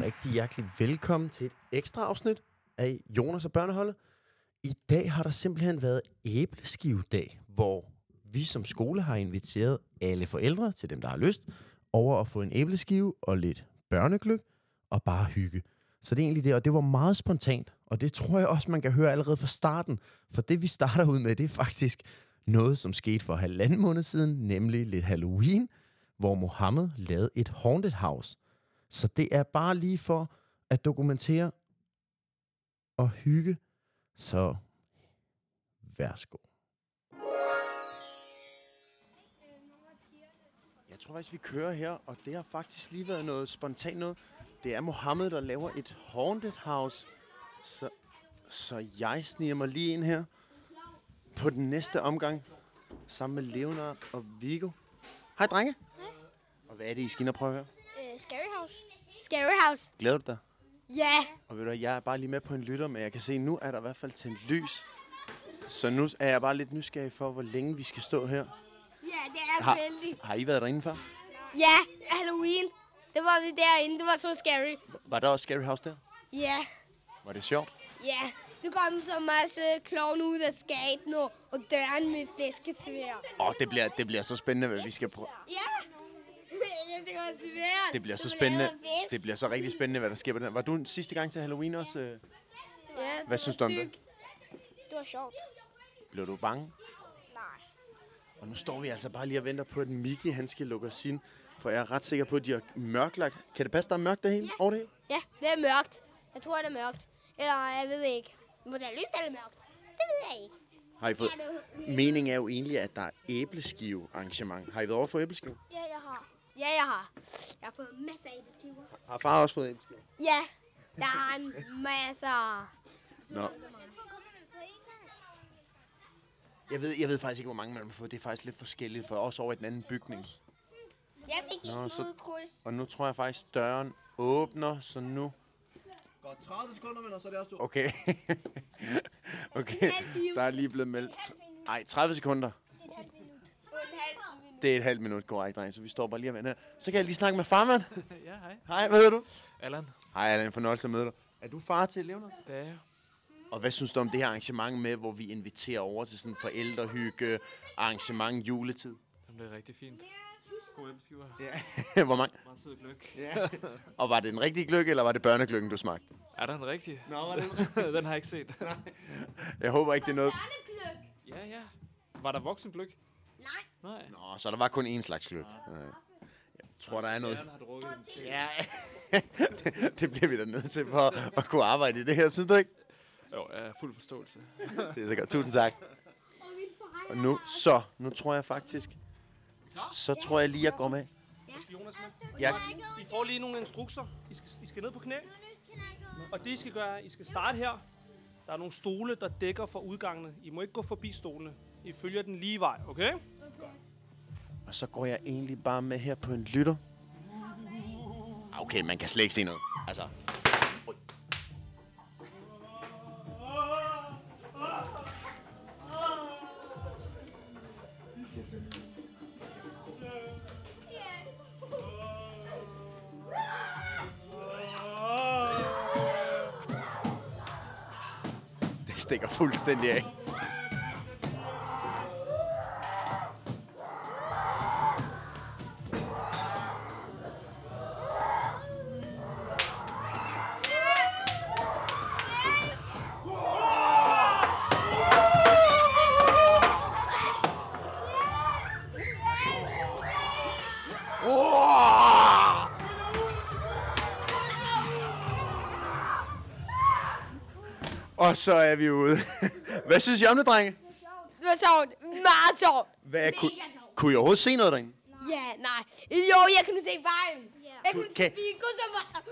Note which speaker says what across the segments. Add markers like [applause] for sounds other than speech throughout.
Speaker 1: rigtig hjertelig velkommen til et ekstra afsnit af Jonas og Børneholdet. I dag har der simpelthen været æbleskivedag, hvor vi som skole har inviteret alle forældre til dem, der har lyst, over at få en æbleskive og lidt børnegløk og bare hygge. Så det er egentlig det, og det var meget spontant, og det tror jeg også, man kan høre allerede fra starten, for det vi starter ud med, det er faktisk noget, som skete for halvanden måned siden, nemlig lidt Halloween, hvor Mohammed lavede et haunted house. Så det er bare lige for at dokumentere og hygge. Så værsgo. Jeg tror faktisk, vi kører her, og det har faktisk lige været noget spontant noget. Det er Mohammed, der laver et haunted house. Så, så jeg sniger mig lige ind her på den næste omgang sammen med Leonard og Vigo. Hej, drenge. Og hvad er det, I skal ind og prøve her?
Speaker 2: Øh, Scary House. Scary House.
Speaker 1: Glæder du dig?
Speaker 2: Ja.
Speaker 1: Og ved du, hvad, jeg er bare lige med på en lytter, men jeg kan se, at nu er der i hvert fald tændt lys. Så nu er jeg bare lidt nysgerrig for, hvor længe vi skal stå her.
Speaker 2: Ja, det er
Speaker 1: Har-
Speaker 2: vældig.
Speaker 1: Har I været derinde før?
Speaker 2: Ja, Halloween. Det var vi derinde. Det var så scary.
Speaker 1: Var der også Scary House der?
Speaker 2: Ja.
Speaker 1: Var det sjovt?
Speaker 2: Ja. Du kom så en masse klovne ud af skaten og, og døren med flæskesvær.
Speaker 1: Åh, oh, det bliver, det bliver så spændende, hvad vi skal prøve.
Speaker 2: [laughs] Ja. ja, det var svært.
Speaker 1: Det bliver så
Speaker 2: var
Speaker 1: spændende.
Speaker 2: allerfedest.
Speaker 1: Det bliver så rigtig spændende, hvad der sker på den. Var du den sidste gang til Halloween også? øh?
Speaker 2: Ja, det
Speaker 1: Hvad
Speaker 2: var
Speaker 1: synes du om det?
Speaker 2: sygt. Det var sjovt.
Speaker 1: Blev du bange?
Speaker 2: Nej.
Speaker 1: Og nu står vi altså bare lige og venter på, at Miki han skal lukke os ind. For jeg er ret sikker på, at de har mørklagt. Kan det passe, der er mørkt derhen? Ja. Over det hele?
Speaker 2: Ja, det er mørkt. Jeg tror, det er mørkt. Eller jeg ved ikke. Må der lyst eller mørkt? Det ved jeg ikke.
Speaker 1: Har I fået? Meningen er jo egentlig, at der er æbleskive arrangement. Har I været over for æbleskive?
Speaker 2: Ja, jeg har. Ja, jeg har. Jeg har fået masser af æbleskiver.
Speaker 1: Har far også fået æbleskive?
Speaker 2: Ja, der er en masser.
Speaker 1: Nå. Jeg ved, jeg ved faktisk ikke, hvor mange man har fået. Det er faktisk lidt forskelligt, for også over i den anden bygning.
Speaker 2: Jeg fik
Speaker 1: Nå,
Speaker 2: en
Speaker 1: så-
Speaker 2: så... kryds.
Speaker 1: Og nu tror jeg faktisk, døren åbner, så nu...
Speaker 3: Godt 30 sekunder, men og så er det også du.
Speaker 1: Okay. [laughs] okay, der er lige blevet meldt. Ej, 30 sekunder. Det er et halvt minut, korrekt, dreng, så vi står bare lige og venter. Så kan jeg lige snakke med [laughs] farmand.
Speaker 3: ja, hej.
Speaker 1: Hej, hvad hedder du?
Speaker 3: Allan,
Speaker 1: Hej, det er en fornøjelse at møde dig. Er du far til Leonard?
Speaker 3: det er jeg.
Speaker 1: Og hvad synes du om det her arrangement med, hvor vi inviterer over til sådan en forældrehygge, arrangement, juletid?
Speaker 3: Den blev rigtig fint. God æbleskiver.
Speaker 1: Ja. [laughs] hvor mange?
Speaker 3: Meget sød gløk.
Speaker 1: Ja. og var det en rigtig gløk, eller var det børnegløkken, du smagte?
Speaker 3: Er der en rigtig?
Speaker 1: Nå, var det
Speaker 3: [laughs] den har jeg ikke set.
Speaker 1: Jeg håber ikke, det er noget...
Speaker 3: ja, ja. Var der voksen gløk?
Speaker 2: Nej.
Speaker 3: Nej.
Speaker 1: Nå, så der var kun én slags gløk. Ja. Jeg tror, der er noget...
Speaker 3: Allan har drukket den. måske.
Speaker 1: Ah. Ja, [laughs] det, det bliver vi da nødt til for at kunne arbejde i det her, synes du ikke?
Speaker 3: Jo, jeg er fuld forståelse.
Speaker 1: Det er så godt. Tusind tak. Og nu, så, nu tror jeg faktisk, så tror jeg lige, jeg går med.
Speaker 4: Jonas med.
Speaker 1: Jeg,
Speaker 4: I får lige nogle instrukser. I skal, I skal ned på knæ. Og det, I skal gøre, er, I skal starte her. Der er nogle stole, der dækker for udgangene. I må ikke gå forbi stolene. I følger den lige vej, okay?
Speaker 1: og så går jeg egentlig bare med her på en lytter. Ah, Okay, man kan slet ikke se noget. Altså, det stikker fuldstændig af. Og så er vi ude. [laughs] Hvad synes I om det, drenge?
Speaker 2: Det var sjovt. Meget sjovt.
Speaker 1: Hvad, kunne,
Speaker 2: Mega sjovt.
Speaker 1: kunne I overhovedet se noget derinde?
Speaker 2: Ja, nej. Jo, jeg kunne se vejen. Jeg kunne
Speaker 1: Okay.
Speaker 2: se Viggo, som var...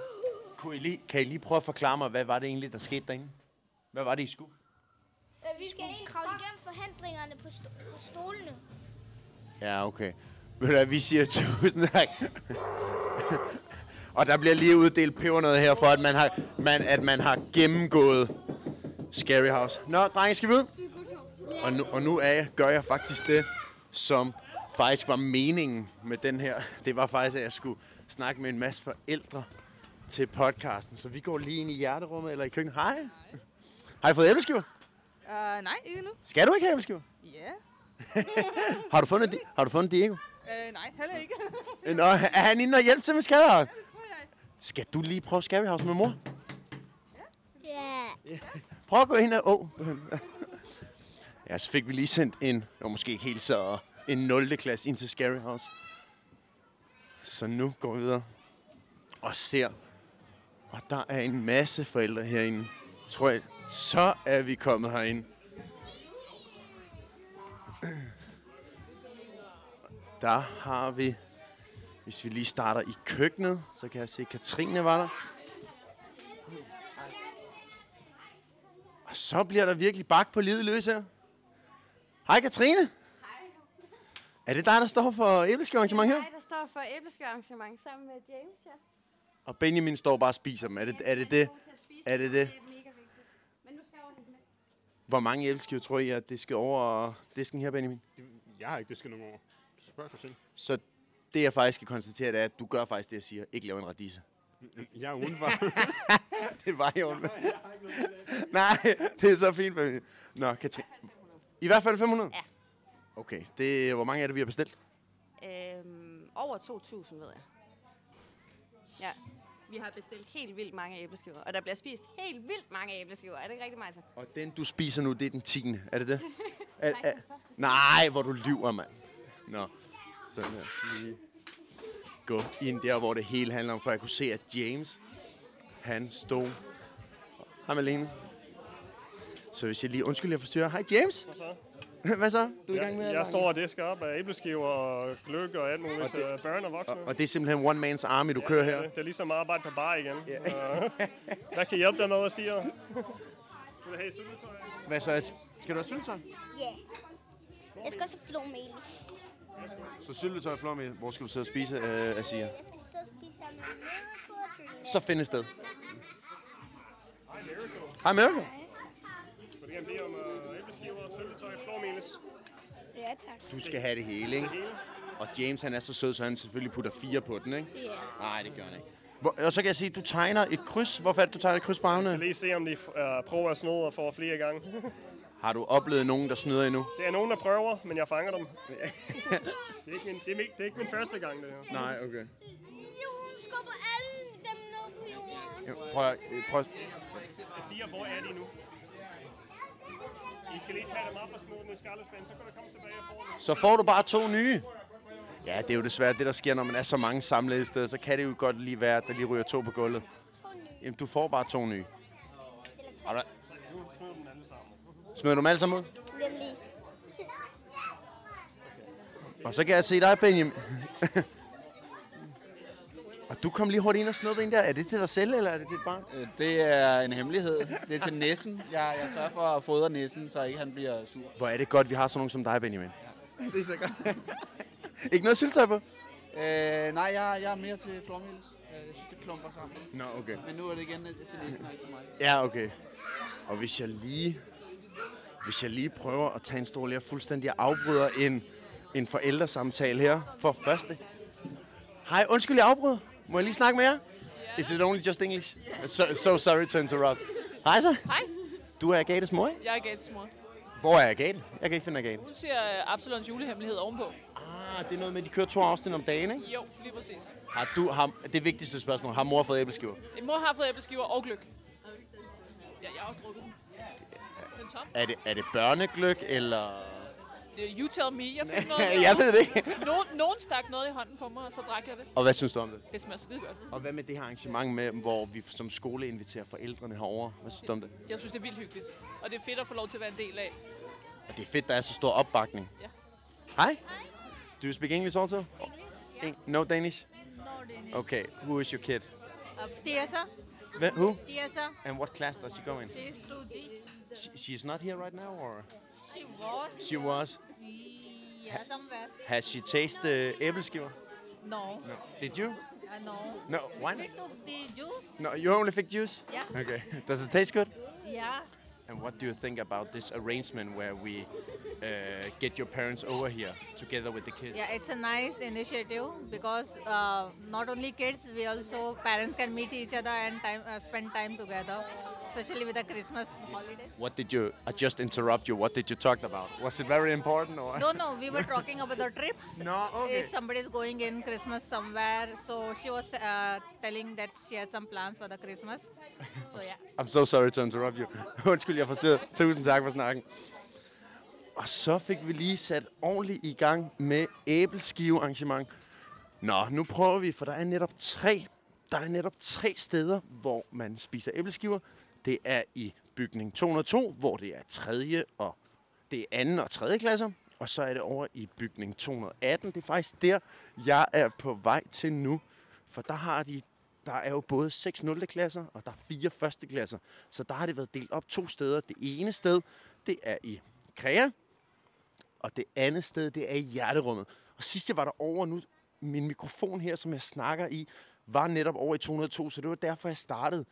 Speaker 1: Kunne I lige, kan I lige prøve at forklare mig, hvad var det egentlig, der skete derinde? Hvad var det, I skulle?
Speaker 5: Vi skal kravle igennem forhindringerne på, sto- på stolene.
Speaker 1: Ja, okay. Ved du hvad, vi siger tusind tak. og der bliver lige uddelt pebernød her for, at man har, man, at man har gennemgået Scary House. Nå, drenge, skal vi ud? Og nu, og nu er jeg, gør jeg faktisk det, som faktisk var meningen med den her. Det var faktisk, at jeg skulle snakke med en masse forældre til podcasten, så vi går lige ind i hjerterummet eller i køkkenet. Hej. Har I fået æbleskiver?
Speaker 5: Øh,
Speaker 6: Uh, nej, ikke nu.
Speaker 1: Skal du ikke have æbleskiver?
Speaker 6: Ja.
Speaker 1: Har du fundet, har du fundet Diego?
Speaker 5: Øh,
Speaker 6: Uh, nej, heller
Speaker 5: [laughs]
Speaker 6: ikke.
Speaker 1: Nå, er han inde og hjælpe til med skatter?
Speaker 6: Tror jeg.
Speaker 1: Skal du lige prøve Scary House med mor?
Speaker 2: Ja.
Speaker 1: Prøv at gå ind og... Oh. Ja, så fik vi lige sendt en, og måske ikke helt så, en 0. klasse ind til Scary House. Så nu går vi videre og ser. Og der er en masse forældre herinde. Tror jeg, så er vi kommet herinde. Der har vi, hvis vi lige starter i køkkenet, så kan jeg se, at Katrine var der. Og så bliver der virkelig bak på livet løs her. Hej Katrine. Hej. Er det dig, der står for æbleskivearrangement her?
Speaker 5: Nej, der står for æbleskivearrangement sammen med James, ja.
Speaker 1: Og Benjamin står bare og spiser dem. Er det er det? det? Er det det?
Speaker 5: Det er mega vigtigt. Men nu skal jeg over lidt med.
Speaker 1: Hvor mange æbleskiver tror I, at det skal over disken her, Benjamin?
Speaker 7: Jeg har ikke disket nogen over. Spørg mig selv.
Speaker 1: Så det, jeg faktisk kan konstatere, det er, at du gør faktisk det, jeg siger. Ikke laver en radise. [laughs]
Speaker 7: [laughs] Jeg er udenfor.
Speaker 1: Det var jo. [laughs] Nej, det er så fint, Benjamin. Nå, Katrine. I hvert fald 500?
Speaker 8: Ja.
Speaker 1: Okay, det, hvor mange er det, vi har bestilt?
Speaker 5: Øhm, over 2.000, ved jeg. Ja, vi har bestilt helt vildt mange æbleskiver, og der bliver spist helt vildt mange æbleskiver. Er det ikke rigtigt, Majsa?
Speaker 1: Og den, du spiser nu, det er den 10. Er det det? er, er, nej, hvor du lyver, mand. Nå, så lad os lige gå ind der, hvor det hele handler om, for jeg kunne se, at James, han stod... Hej, Malene. Så hvis jeg lige... Undskyld, jeg forstyrrer. Hej, James.
Speaker 9: Hvad så?
Speaker 1: [laughs] Hvad så? Du er i gang med... at
Speaker 9: Jeg,
Speaker 1: lage-
Speaker 9: jeg står og disker op af æbleskiver og gløk og alt muligt
Speaker 1: Og
Speaker 9: til børn og voksne.
Speaker 1: Og, og det er simpelthen one man's army, du kører her.
Speaker 9: Det, det er ligesom at arbejde på bar igen. Så, øh, Hvad kan hjælpe dig med at sige? Skal du have syltetøj?
Speaker 1: Hvad så? Skal du have syltetøj?
Speaker 2: Ja. Jeg skal også have flormelis.
Speaker 1: Så syltetøj og flormelis. Hvor skal du sidde og spise, øh, Asia?
Speaker 2: Jeg skal sidde og spise sammen med Miracle og Dream.
Speaker 1: Så find et sted. Hej, Miracle.
Speaker 9: Vil du gerne bede om øh, æbleskiver, syltetøj, flormelis?
Speaker 10: Ja, tak.
Speaker 1: Du skal have det hele, ikke? Og James, han er så sød, så han selvfølgelig putter fire på den, ikke?
Speaker 10: Ja.
Speaker 1: Nej, det gør han ikke. Hvor, og så kan jeg sige, at du tegner et kryds. Hvorfor er det, du tegner et kryds på
Speaker 9: Jeg vil
Speaker 1: armene?
Speaker 9: lige se, om de øh, prøver at snyde og får flere gange.
Speaker 1: Har du oplevet nogen, der snyder endnu?
Speaker 9: Det er nogen, der prøver, men jeg fanger dem. det, er ikke min, det, er min, det er ikke min første gang, det her.
Speaker 1: Nej, okay.
Speaker 10: Jo, hun skubber alle dem ned på jorden.
Speaker 1: Prøv, at- prøv. at-
Speaker 9: Jeg siger, hvor er de nu? I skal lige tage dem op og smide dem i skraldespanden, så kan du komme tilbage og få dem.
Speaker 1: Så får du bare to nye. Ja, det er jo desværre det, der sker, når man er så mange samlet et sted. Så kan det jo godt lige være, at der lige ryger to på gulvet. Jamen, du får bare to nye. Har du,
Speaker 9: Nu smider dem alle sammen.
Speaker 1: smider du dem alle sammen ud?
Speaker 2: Nemlig.
Speaker 1: Og så kan jeg se dig, Benjamin. [laughs] og du kom lige hurtigt ind og snuppede en der. Er det til dig selv, eller er det til et barn?
Speaker 11: Øh, Det er en hemmelighed. Det er til næsen. Jeg, jeg sørger for at fodre næsen, så ikke han bliver sur.
Speaker 1: Hvor er det godt, vi har sådan nogen som dig, Benjamin. Det er så godt. [laughs] ikke noget syltøj på?
Speaker 11: Øh, nej, jeg, jeg er mere til flormelis. Øh, Jeg synes, det klumper sammen.
Speaker 1: Nå, okay.
Speaker 11: Men nu er det igen øh, til næsen og ikke til mig.
Speaker 1: Ja, okay. Og hvis jeg lige, hvis jeg lige prøver at tage en stol, jeg fuldstændig afbryder en, en forældresamtale her for første. Hej, undskyld, jeg afbryder. Må jeg lige snakke med jer? Is it only just English? So, so sorry to interrupt. Hej så.
Speaker 12: Hej,
Speaker 1: Du er Agates mor, ikke?
Speaker 12: jeg er Gates mor.
Speaker 1: Hvor er Agate? Jeg kan ikke finde Agate.
Speaker 12: Hun siger øh, Absalons julehemmelighed ovenpå.
Speaker 1: Ah, det er noget med, at de kører to afsnit om dagen, ikke?
Speaker 12: Jo, lige præcis.
Speaker 1: Har du, har, det vigtigste spørgsmål, har mor fået æbleskiver?
Speaker 12: Min mor har fået æbleskiver og gløk. Ja, jeg har også drukket den. Den er tom.
Speaker 1: Er det, er det børnegløk, eller...
Speaker 12: Øh, You tell me, jeg
Speaker 11: [laughs]
Speaker 12: fik noget.
Speaker 1: [laughs] jeg ved det ikke.
Speaker 12: Nogen, nogen stak noget i hånden på mig, og så drak jeg det.
Speaker 1: Og hvad synes du om det?
Speaker 12: Det smager skide godt.
Speaker 1: Og hvad med det her arrangement med, hvor vi som skole inviterer forældrene herover? Hvad synes du om det?
Speaker 12: Jeg synes, det er vildt hyggeligt. Og det er fedt at få lov til at være en del af.
Speaker 1: Og det er fedt, der er så stor opbakning.
Speaker 12: Ja.
Speaker 1: Hej. Do you speak English also? Eng- No Danish? Okay, who is your kid?
Speaker 5: Det er så.
Speaker 1: Wh- who?
Speaker 5: Det er så.
Speaker 1: And what class does she go in?
Speaker 5: Det er studi.
Speaker 1: She, she's not here right now, or?
Speaker 5: She was.
Speaker 1: She was.
Speaker 5: Ja, som hvad?
Speaker 1: Has she tasted uh, æbleskiver?
Speaker 5: No.
Speaker 1: No. Did you?
Speaker 5: Uh, no.
Speaker 1: No, why not?
Speaker 5: took the juice.
Speaker 1: No, you only fik juice? [laughs]
Speaker 5: Ja.
Speaker 1: Okay. Does it taste good?
Speaker 5: Ja.
Speaker 1: And what do you think about this arrangement where we uh, get your parents over here together with the kids?
Speaker 5: Yeah, it's a nice initiative because uh, not only kids, we also parents can meet each other and time uh, spend time together, especially with the Christmas holidays.
Speaker 1: What did you? I just interrupt you. What did you talk about? Was it very important or?
Speaker 5: No, no, we were talking about the trips.
Speaker 1: No, okay.
Speaker 5: If somebody's going in Christmas somewhere, so she was uh, telling that she had some plans for the Christmas. So yeah.
Speaker 1: I'm so sorry to interrupt you. [laughs] Undskyld, jeg forstyrrede. Tusind tak for snakken. Og så fik vi lige sat ordentligt i gang med æbleskivearrangement. Nå, nu prøver vi, for der er netop tre, der er netop tre steder, hvor man spiser æbleskiver. Det er i bygning 202, hvor det er tredje og det er anden og tredje klasser. Og så er det over i bygning 218. Det er faktisk der, jeg er på vej til nu. For der har de der er jo både 6 0. klasser, og der er 4 første klasser. Så der har det været delt op to steder. Det ene sted, det er i Krea, og det andet sted, det er i hjerterummet. Og sidst jeg var derovre nu, min mikrofon her, som jeg snakker i, var netop over i 202, så det var derfor, jeg startede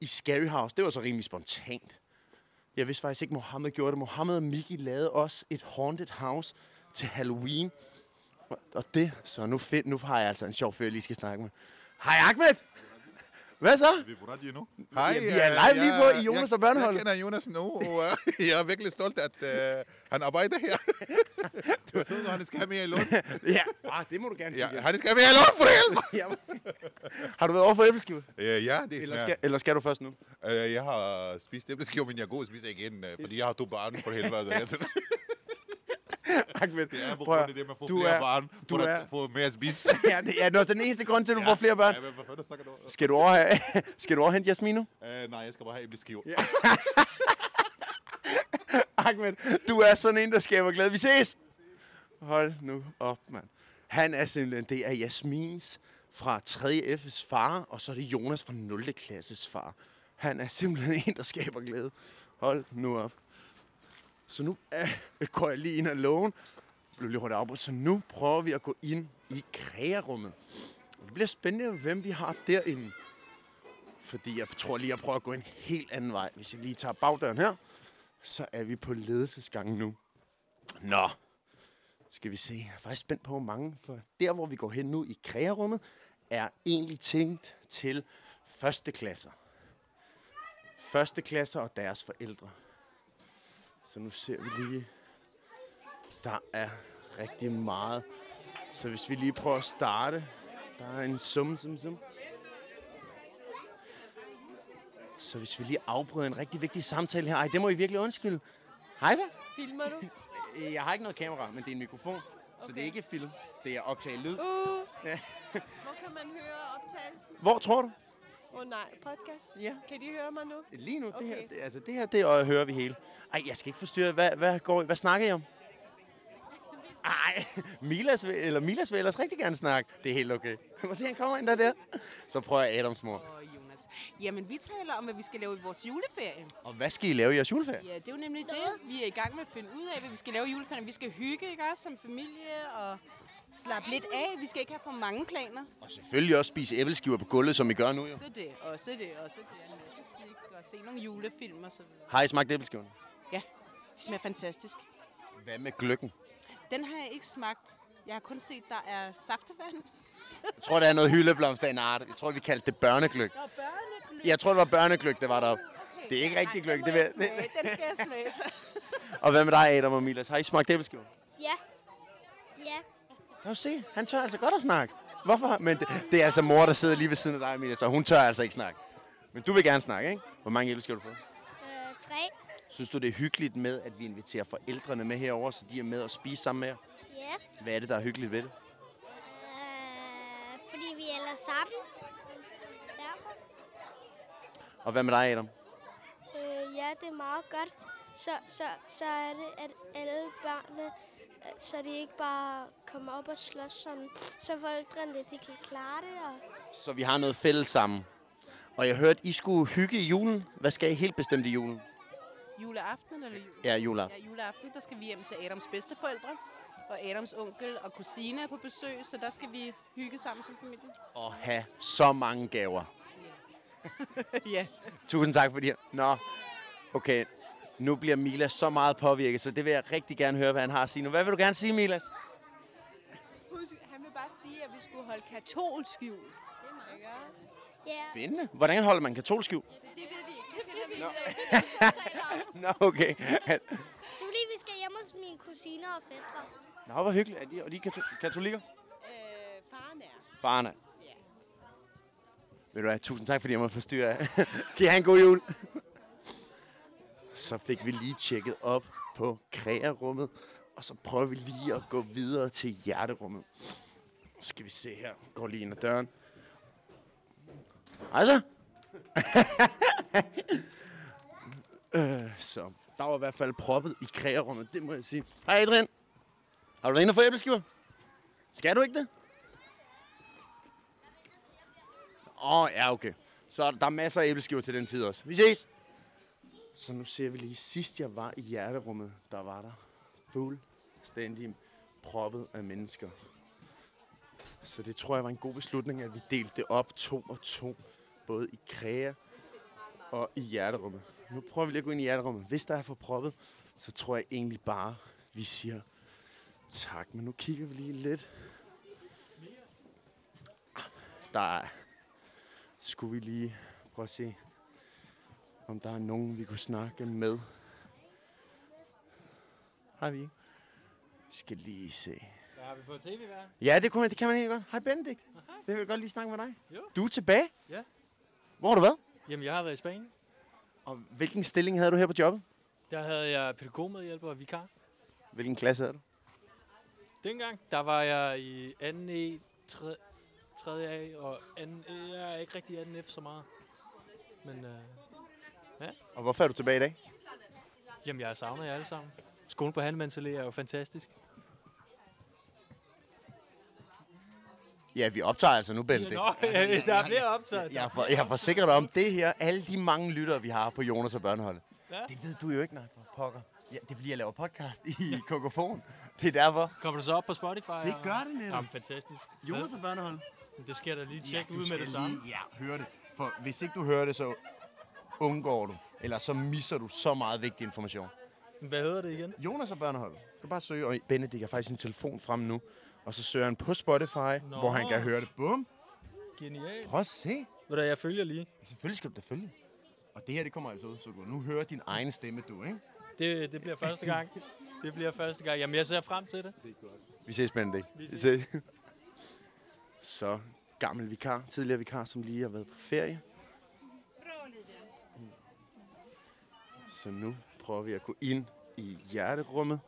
Speaker 1: i Scary House. Det var så rimelig spontant. Jeg vidste faktisk ikke, Mohammed gjorde det. Mohammed og Miki lavede også et haunted house til Halloween. Og- Og det, så nu, fedt, nu har jeg altså en sjov fyr, jeg lige skal snakke med. Hej Ahmed! Hvad så?
Speaker 13: Vi er på radio nu.
Speaker 1: Ja, vi er live
Speaker 13: øh,
Speaker 1: lige på i Jonas
Speaker 13: jeg,
Speaker 1: og børneholdet.
Speaker 13: Jeg kender Jonas nu, og øh, jeg er virkelig stolt, at øh, han arbejder her. Jeg synes, han skal have mere i lån.
Speaker 1: ja, ah, det må du gerne
Speaker 13: ja,
Speaker 1: sige.
Speaker 13: Han skal have mere i lån, for helvede!
Speaker 1: [laughs] Har du været over for æbleskiver?
Speaker 13: Øh, ja, det
Speaker 1: Eller
Speaker 13: smager.
Speaker 1: skal- eller skal du først nu?
Speaker 13: Øh, jeg har spist æbleskiver, men jeg er god at spise igen, øh, fordi jeg har to børn for
Speaker 5: [laughs]
Speaker 13: helvede. Så jeg,
Speaker 1: Ahmed,
Speaker 13: det er på
Speaker 1: prøv
Speaker 13: grund
Speaker 1: at-
Speaker 13: af det, man får
Speaker 1: du
Speaker 13: flere
Speaker 1: er-
Speaker 13: børn,
Speaker 1: du
Speaker 13: for at
Speaker 1: er-
Speaker 13: få mere at spise.
Speaker 1: [laughs] ja, det er, det er også den eneste grund til, at du får flere børn.
Speaker 13: Ja, men hvad fanden snakker du om?
Speaker 1: Skal du over, [laughs] have- skal du over hente Jasmin nu?
Speaker 13: Øh, nej, jeg skal bare have æbleskiver.
Speaker 1: [laughs] Ahmed, du er sådan en, der skaber glæde. Vi ses! Hold nu op, mand. Han er simpelthen, det er Jasmins fra 3F's far, og så er det Jonas fra 0. klasses far. Han er simpelthen en, der skaber glæde. Hold nu op. Så nu øh, går jeg lige ind og lågen. Blev lige hurtigt afbrudt. Så nu prøver vi at gå ind i krægerummet. Det bliver spændende, hvem vi har derinde. Fordi jeg tror lige, jeg prøver at gå en helt anden vej. Hvis jeg lige tager bagdøren her, så er vi på ledelsesgangen nu. Nå, skal vi se. Jeg er faktisk spændt på, hvor mange. For der, hvor vi går hen nu i krægerummet, er egentlig tænkt til første klasser. Første klasser og deres forældre. Så nu ser vi lige. Der er rigtig meget. Så hvis vi lige prøver at starte. Der er en sum, sum, sum. Så hvis vi lige afbryder en rigtig vigtig samtale her. Ej, det må I virkelig undskylde. Hej så.
Speaker 14: Filmer du?
Speaker 1: Øh, Jeg har ikke noget kamera, men det er en mikrofon. Okay. Så det er ikke film. Det er optage lyd.
Speaker 15: Uh.
Speaker 1: Ja.
Speaker 15: [laughs] Hvor kan man høre optagelsen?
Speaker 1: Hvor tror du?
Speaker 15: Åh oh, nej, podcast?
Speaker 1: Ja.
Speaker 15: Kan de høre mig nu?
Speaker 1: Lige nu, okay. det her,
Speaker 15: Okay.
Speaker 1: det, altså det her, det øh, hører vi hele. Ej, jeg skal ikke forstyrre. Hvad, hvad, går, I- hvad snakker
Speaker 12: [laughs]
Speaker 1: I om? Ej, Milas vil, eller Milas vil ellers rigtig gerne snakke. Det er helt okay. [laughs] Må se, han kommer ind der der. Så prøver jeg Adams mor.
Speaker 12: Jonas. Jamen, vi taler om, hvad vi skal lave i vores juleferie.
Speaker 1: Og hvad skal I lave i jeres juleferie?
Speaker 12: Ja, det er jo nemlig det. Vi er i gang med at finde ud af, hvad vi skal lave i juleferien. Vi skal hygge, ikke også, som familie, og slappe lidt af. Vi skal ikke have for mange planer.
Speaker 1: Selvfølgelig også spise æbleskiver på gulvet, som I gør nu jo.
Speaker 12: Også det, også det, også det. En masse slik, og se nogle julefilm og så videre.
Speaker 1: Har I smagt æbleskiverne?
Speaker 12: Ja, de smager fantastisk.
Speaker 1: Hvad med gløggen?
Speaker 12: Den har jeg ikke smagt. Jeg har kun set, der er saftevand.
Speaker 1: Jeg tror, der er noget hyldeblomst af en art. Jeg tror, vi kaldte det børnegløg.
Speaker 12: Der er børnegløb.
Speaker 1: Jeg tror, det var børnegløg, der var deroppe. Det er ikke rigtig gløgg. Det vil...
Speaker 12: Den skal
Speaker 1: [laughs]
Speaker 12: jeg smage.
Speaker 1: Og hvad med dig, Adam og Milas? Har I smagt æbleskiver?
Speaker 2: Ja. Ja.
Speaker 1: Lad os se. Han tør altså godt at snakke. Hvorfor? Men det, det er altså mor, der sidder lige ved siden af dig, Milas, og hun tør altså ikke snakke. Men du vil gerne snakke, ikke? Hvor mange æbleskiver har du fået?
Speaker 2: Øh, tre.
Speaker 1: Synes du, det er hyggeligt med, at vi inviterer forældrene med herover, så de er med og spiser sammen med jer?
Speaker 2: Ja.
Speaker 1: Hvad er det, der er hyggeligt ved det?
Speaker 2: Øh, fordi vi er ellers sammen. Ja.
Speaker 1: Og hvad med dig, Adam?
Speaker 16: Øh, ja, det er meget godt. Så, så, så er det, at alle børnene, øh, så de ikke bare kommer op og slås sådan, så forældrene de kan klare det. Og
Speaker 1: Så vi har noget fælles sammen. Og jeg hørte, I skulle hygge i julen. Hvad skal I helt bestemt i julen?
Speaker 12: Juleaften eller jul?
Speaker 1: Ja, juleaften.
Speaker 12: Ja, juleaften, der skal vi hjem til Adams bedsteforældre. Og Adams onkel og kusine er på besøg, så der skal vi hygge sammen som
Speaker 1: [laughs]
Speaker 12: familie.
Speaker 1: Og have så mange gaver.
Speaker 12: ja.
Speaker 1: Tusind tak for det. Nå, okay. Nu bliver Milas så meget påvirket, så det vil jeg rigtig gerne høre, hvad han har at sige nu. Hvad vil du gerne sige, Milas?
Speaker 17: Husk, han vil bare sige, at vi skulle holde katolsk jul. Det er meget Ja.
Speaker 1: Spændende. Hvordan holder man katolsk jul?
Speaker 17: Det, det ved vi ikke. Det finder vi
Speaker 2: Nå.
Speaker 17: ud af. Det er det, vi taler om.
Speaker 1: Nå, okay.
Speaker 2: Det er fordi, vi skal hjem hos mine kusiner og fædre.
Speaker 1: Nå, hvor hyggeligt. Er de, og de er kato- katolikker?
Speaker 17: Øh, faren er.
Speaker 1: Farne. Ved du hvad, tusind tak, fordi jeg må forstyrre jer. [laughs] Kan I have en god jul? Så fik vi lige tjekket op på krægerummet, og så prøver vi lige at gå videre til hjerterummet. Nu skal vi se her. Går lige ind ad døren. Hej så. [laughs] øh, så der var i hvert fald proppet i krægerummet, det må jeg sige. Hej Adrian. Har du været inde og få æbleskiver? Skal du ikke det? Åh, oh, ja, okay. Så der er masser af æbleskiver til den tid også. Vi ses! Så nu ser vi lige, sidst jeg var i hjerterummet, der var der fuldstændig proppet af mennesker. Så det tror jeg var en god beslutning, at vi delte det op to og to. Både i kræer og i hjerterummet. Nu prøver vi lige at gå ind i hjerterummet. Hvis der er for proppet, så tror jeg egentlig bare, vi siger tak. Men nu kigger vi lige lidt. Ah, Der er skulle vi lige prøve at se, om der er nogen, vi kunne snakke med. Har vi ikke? Vi skal lige se.
Speaker 4: Der har vi fået tv hver.
Speaker 1: Ja, det, kunne, det kan man egentlig godt. Hej Benedikt. Det vil jeg godt lige snakke med dig.
Speaker 4: Jo.
Speaker 1: Du er tilbage.
Speaker 4: Ja.
Speaker 1: Hvor har du været?
Speaker 4: Jamen, jeg har været i Spanien.
Speaker 1: Og hvilken stilling havde du her på jobbet?
Speaker 4: Der havde jeg pædagogmedhjælper og vikar.
Speaker 1: Hvilken klasse havde du?
Speaker 4: Dengang, der var jeg i 2. E, 3. 3. A og 2. E. Jeg er ikke rigtig i 2. F så meget. Men øh, ja,
Speaker 1: Og hvorfor er du tilbage i dag?
Speaker 4: jamen, jeg har savnet jer alle sammen. Skolen på Handemands Allé er jo fantastisk.
Speaker 1: Ja, vi optager altså nu, Benedikt.
Speaker 4: Nå, [laughs] der er flere optaget.
Speaker 1: Jeg, for, jeg forsikrer dig om det her. Alle de mange lyttere, vi har på Jonas og Børneholdet.
Speaker 4: Ja.
Speaker 1: Det ved du jo ikke, nej, for pokker. Ja, det er fordi, jeg laver podcast i [laughs] Kokofon. Det er derfor.
Speaker 4: Kommer du så op på Spotify?
Speaker 1: Det
Speaker 4: og-
Speaker 1: gør det netop.
Speaker 4: Jamen, fantastisk.
Speaker 1: Jonas og Børnehold.
Speaker 4: Det skal jeg da lige tjekke
Speaker 1: du
Speaker 4: ud med
Speaker 1: skal
Speaker 4: det samme.
Speaker 1: lige- ja, hør det. For hvis ikke du hører det, så undgår du. Eller så misser du så meget vigtig information.
Speaker 4: Hvad hedder det igen?
Speaker 1: Jonas og Børnehold. Du kan bare søge, og Benedikt har faktisk sin telefon frem nu. Og så søger han på Spotify, Nå. hvor han kan høre det. Bum.
Speaker 4: Genialt.
Speaker 1: Prøv at se.
Speaker 4: Ved du, jeg følger lige.
Speaker 1: Selvfølgelig skal du da følge. Og det her, det kommer altså ud, så du nu hører din egen stemme, du, ikke?
Speaker 4: Det, det bliver første
Speaker 1: [laughs]
Speaker 4: gang. Det bliver første gang. Jamen, jeg ser frem til det. Det er godt.
Speaker 1: Vi ses, Benedikt.
Speaker 4: Vi
Speaker 1: Vi ses. [laughs] Så gammel vikar, tidligere vikar, som lige har været på ferie. Så nu prøver vi at gå ind i hjerterummet.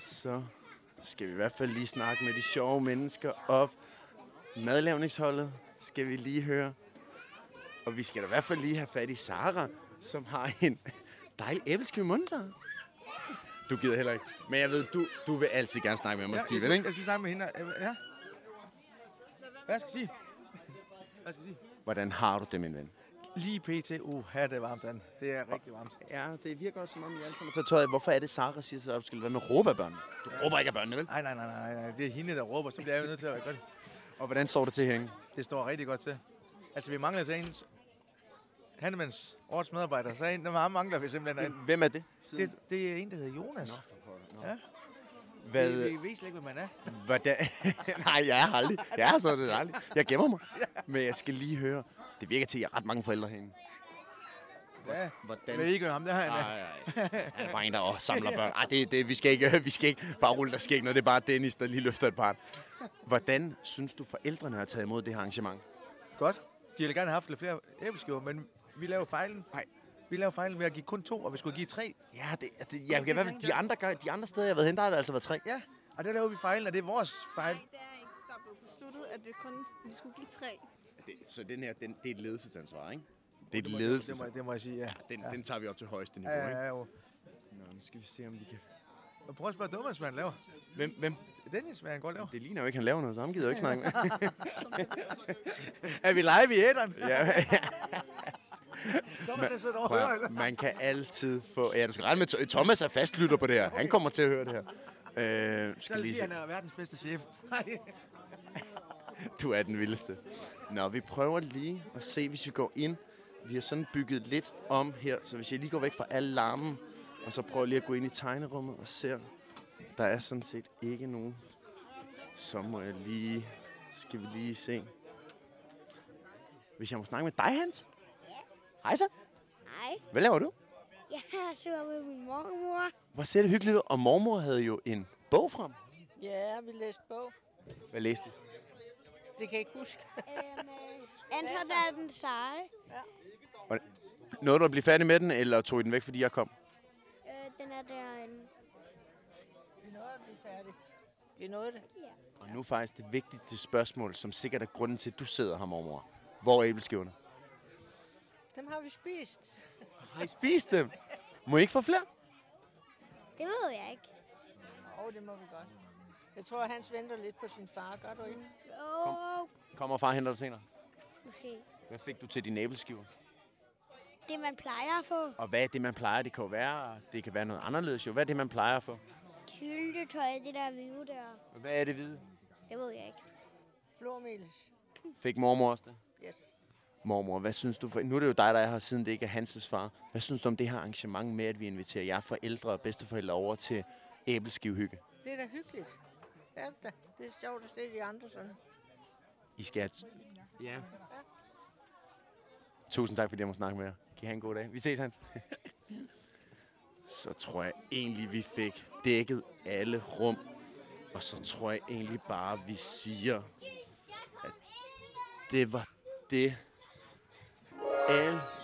Speaker 1: Så skal vi i hvert fald lige snakke med de sjove mennesker op. Madlavningsholdet skal vi lige høre. Og vi skal da i hvert fald lige have fat i Sara, som har en dejlig æbleskive i munden, Sara. Du gider heller ikke. Men jeg ved, du, du vil altid gerne snakke med mig,
Speaker 7: jeg,
Speaker 1: Steven,
Speaker 7: skal-
Speaker 1: ikke?
Speaker 7: jeg skal snakke med hende. Øh, Ja. Hvad skal jeg sige? Hvad skal jeg sige?
Speaker 1: Hvordan har du det, min ven?
Speaker 7: Lige pt. Uh, her er det varmt, Dan. Det er rigtig varmt.
Speaker 1: Ja, det virker også som om, I alle sammen Så tøj, hvorfor er det, Sara siger til dig, at du skal lade være med at råbe af børnene? Du råber ikke af børnene, vel?
Speaker 7: Nej, nej, nej, nej, nej. Det er hende, der råber, så bliver jeg jo nødt til at være godt.
Speaker 1: Og hvordan står det til herinde?
Speaker 7: Det står rigtig godt til. Altså, vi mangler altså en Handemands årets medarbejder, så er en, der meget mangler vi simpelthen.
Speaker 1: Hvem er det?
Speaker 7: det? Det er en, der hedder Jonas. Nå,
Speaker 1: for
Speaker 7: Nå. Ja.
Speaker 1: Hvad-
Speaker 7: Vi, vi ved slet ikke, hvem man er.
Speaker 1: Hvordan? [laughs] Nej, jeg er aldrig. Jeg er sådan set aldrig. Jeg gemmer mig. Men jeg skal lige høre. Det virker til, at I har ret mange forældre herinde.
Speaker 7: Ja,
Speaker 1: Hvordan?
Speaker 7: Jeg ved ikke, ham der er.
Speaker 1: Nej, nej. Han er bare en, der også samler børn. Ej, det, det, vi, skal ikke, vi skal ikke bare rulle, der sker ikke noget. Det er bare Dennis, der lige løfter et barn. Hvordan synes du, forældrene har taget imod det her arrangement?
Speaker 7: Godt. De ville gerne have haft lidt flere æbleskiver, men vi laver fejlen. Nej. Vi laver fejlen ved at give kun to, og vi skulle give tre.
Speaker 1: Ja, det, det, ja, i hvert fald de andre, gør- de andre steder, jeg har været hen, der har det altså været tre.
Speaker 7: Ja, og der laver vi fejlen, og det er vores fejl.
Speaker 18: Der blev besluttet, at vi kun vi skulle give tre.
Speaker 1: Det, så den her, den, det er et ledelsesansvar, ikke? Det er
Speaker 7: Det
Speaker 1: et
Speaker 7: må-
Speaker 1: ledelsesansvar.
Speaker 7: det må- det må jeg sige, ja.
Speaker 1: den,
Speaker 7: Ja.
Speaker 1: den tager vi op til højeste niveau,
Speaker 7: Ja,
Speaker 1: ikke?
Speaker 7: ja, jo.
Speaker 1: Nå, nu skal vi se, om vi kan...
Speaker 7: Og prøv at spørge Dummes, hvad han laver.
Speaker 1: Hvem? hvem?
Speaker 7: Dennis, hvad han går og laver.
Speaker 1: Det ligner jo ikke, han laver noget, så ham gider jeg jo ikke snakke med.
Speaker 7: [laughs] er vi live i æderen?
Speaker 1: ja,
Speaker 7: Thomas, der sidder
Speaker 1: man,
Speaker 7: og
Speaker 1: prøv at
Speaker 7: hører,
Speaker 1: høre,
Speaker 7: eller?
Speaker 1: man kan altid få... Ja, du skal regne med, at Thomas er fastlytter på det her. Han kommer til at høre det her. Øh,
Speaker 7: Så er
Speaker 1: skal lige
Speaker 7: det lige,
Speaker 1: se.
Speaker 7: han er verdens bedste chef. Nej.
Speaker 1: [laughs] Du er den vildeste. Nå, vi prøver lige at se, hvis vi går ind vi har sådan bygget lidt om her, så hvis jeg lige går væk fra al larmen, og så prøver lige at gå ind i tegnerummet og ser, der er sådan set ikke nogen. Så må jeg lige, skal vi lige se. Hvis jeg må snakke med dig, Hans? Hej så.
Speaker 16: [laughs]
Speaker 2: Hej.
Speaker 1: Hvad laver du?
Speaker 2: Jeg er sur med min mormor.
Speaker 1: Hvor ser det hyggeligt ud. Og mormor havde jo en bog frem.
Speaker 2: Ja, vi læste bog.
Speaker 1: Hvad læste du?
Speaker 2: Det kan jeg ikke huske. Anton er den seje. Ja.
Speaker 1: Og- Nåede du at blive færdig med den, eller tog I den væk, fordi jeg kom?
Speaker 2: Øh, den er derinde. Vi nåede at blive færdige. Vi nåede det? Ja.
Speaker 1: Og nu faktisk det vigtigste spørgsmål, som sikkert er grunden til, at du sidder her, mormor. Hvor er æbleskiverne?
Speaker 2: Dem har vi spist.
Speaker 1: Har I spist dem? Må I ikke få flere?
Speaker 2: Det ved jeg ikke. Jo, det må vi godt. Jeg tror, Hans venter lidt på sin far, gør du ikke? Jo, Kom.
Speaker 1: Kom og far henter dig senere.
Speaker 2: måske.
Speaker 1: Hvad fik du til dine æbleskiver?
Speaker 2: Det, man plejer at få.
Speaker 1: Og hvad er det, man plejer? Det kan jo være, det kan være noget anderledes jo. Hvad er det, man plejer at få?
Speaker 2: Tyltetøj, det der hvide der.
Speaker 1: Og Hvad er det hvide?
Speaker 2: Det ved jeg ikke. Flormelis.
Speaker 1: Fik mormor også det?
Speaker 2: Yes.
Speaker 1: Mormor, hvad synes du? For, nu er det jo dig, der er her, siden det ikke er Hanses far. Hvad synes du om det her arrangement med, at vi inviterer jer forældre og bedsteforældre over til æbleskivehygge?
Speaker 2: Det er da hyggeligt. Ja, det, er da. det er sjovt at se de andre sådan.
Speaker 1: I skal have Ja. Tusind tak, fordi jeg må snakke med jer. Kan I have en god dag. Vi ses, Hans. [laughs] så tror jeg egentlig, vi fik dækket alle rum. Og så tror jeg egentlig bare, vi siger, at det var det. Alle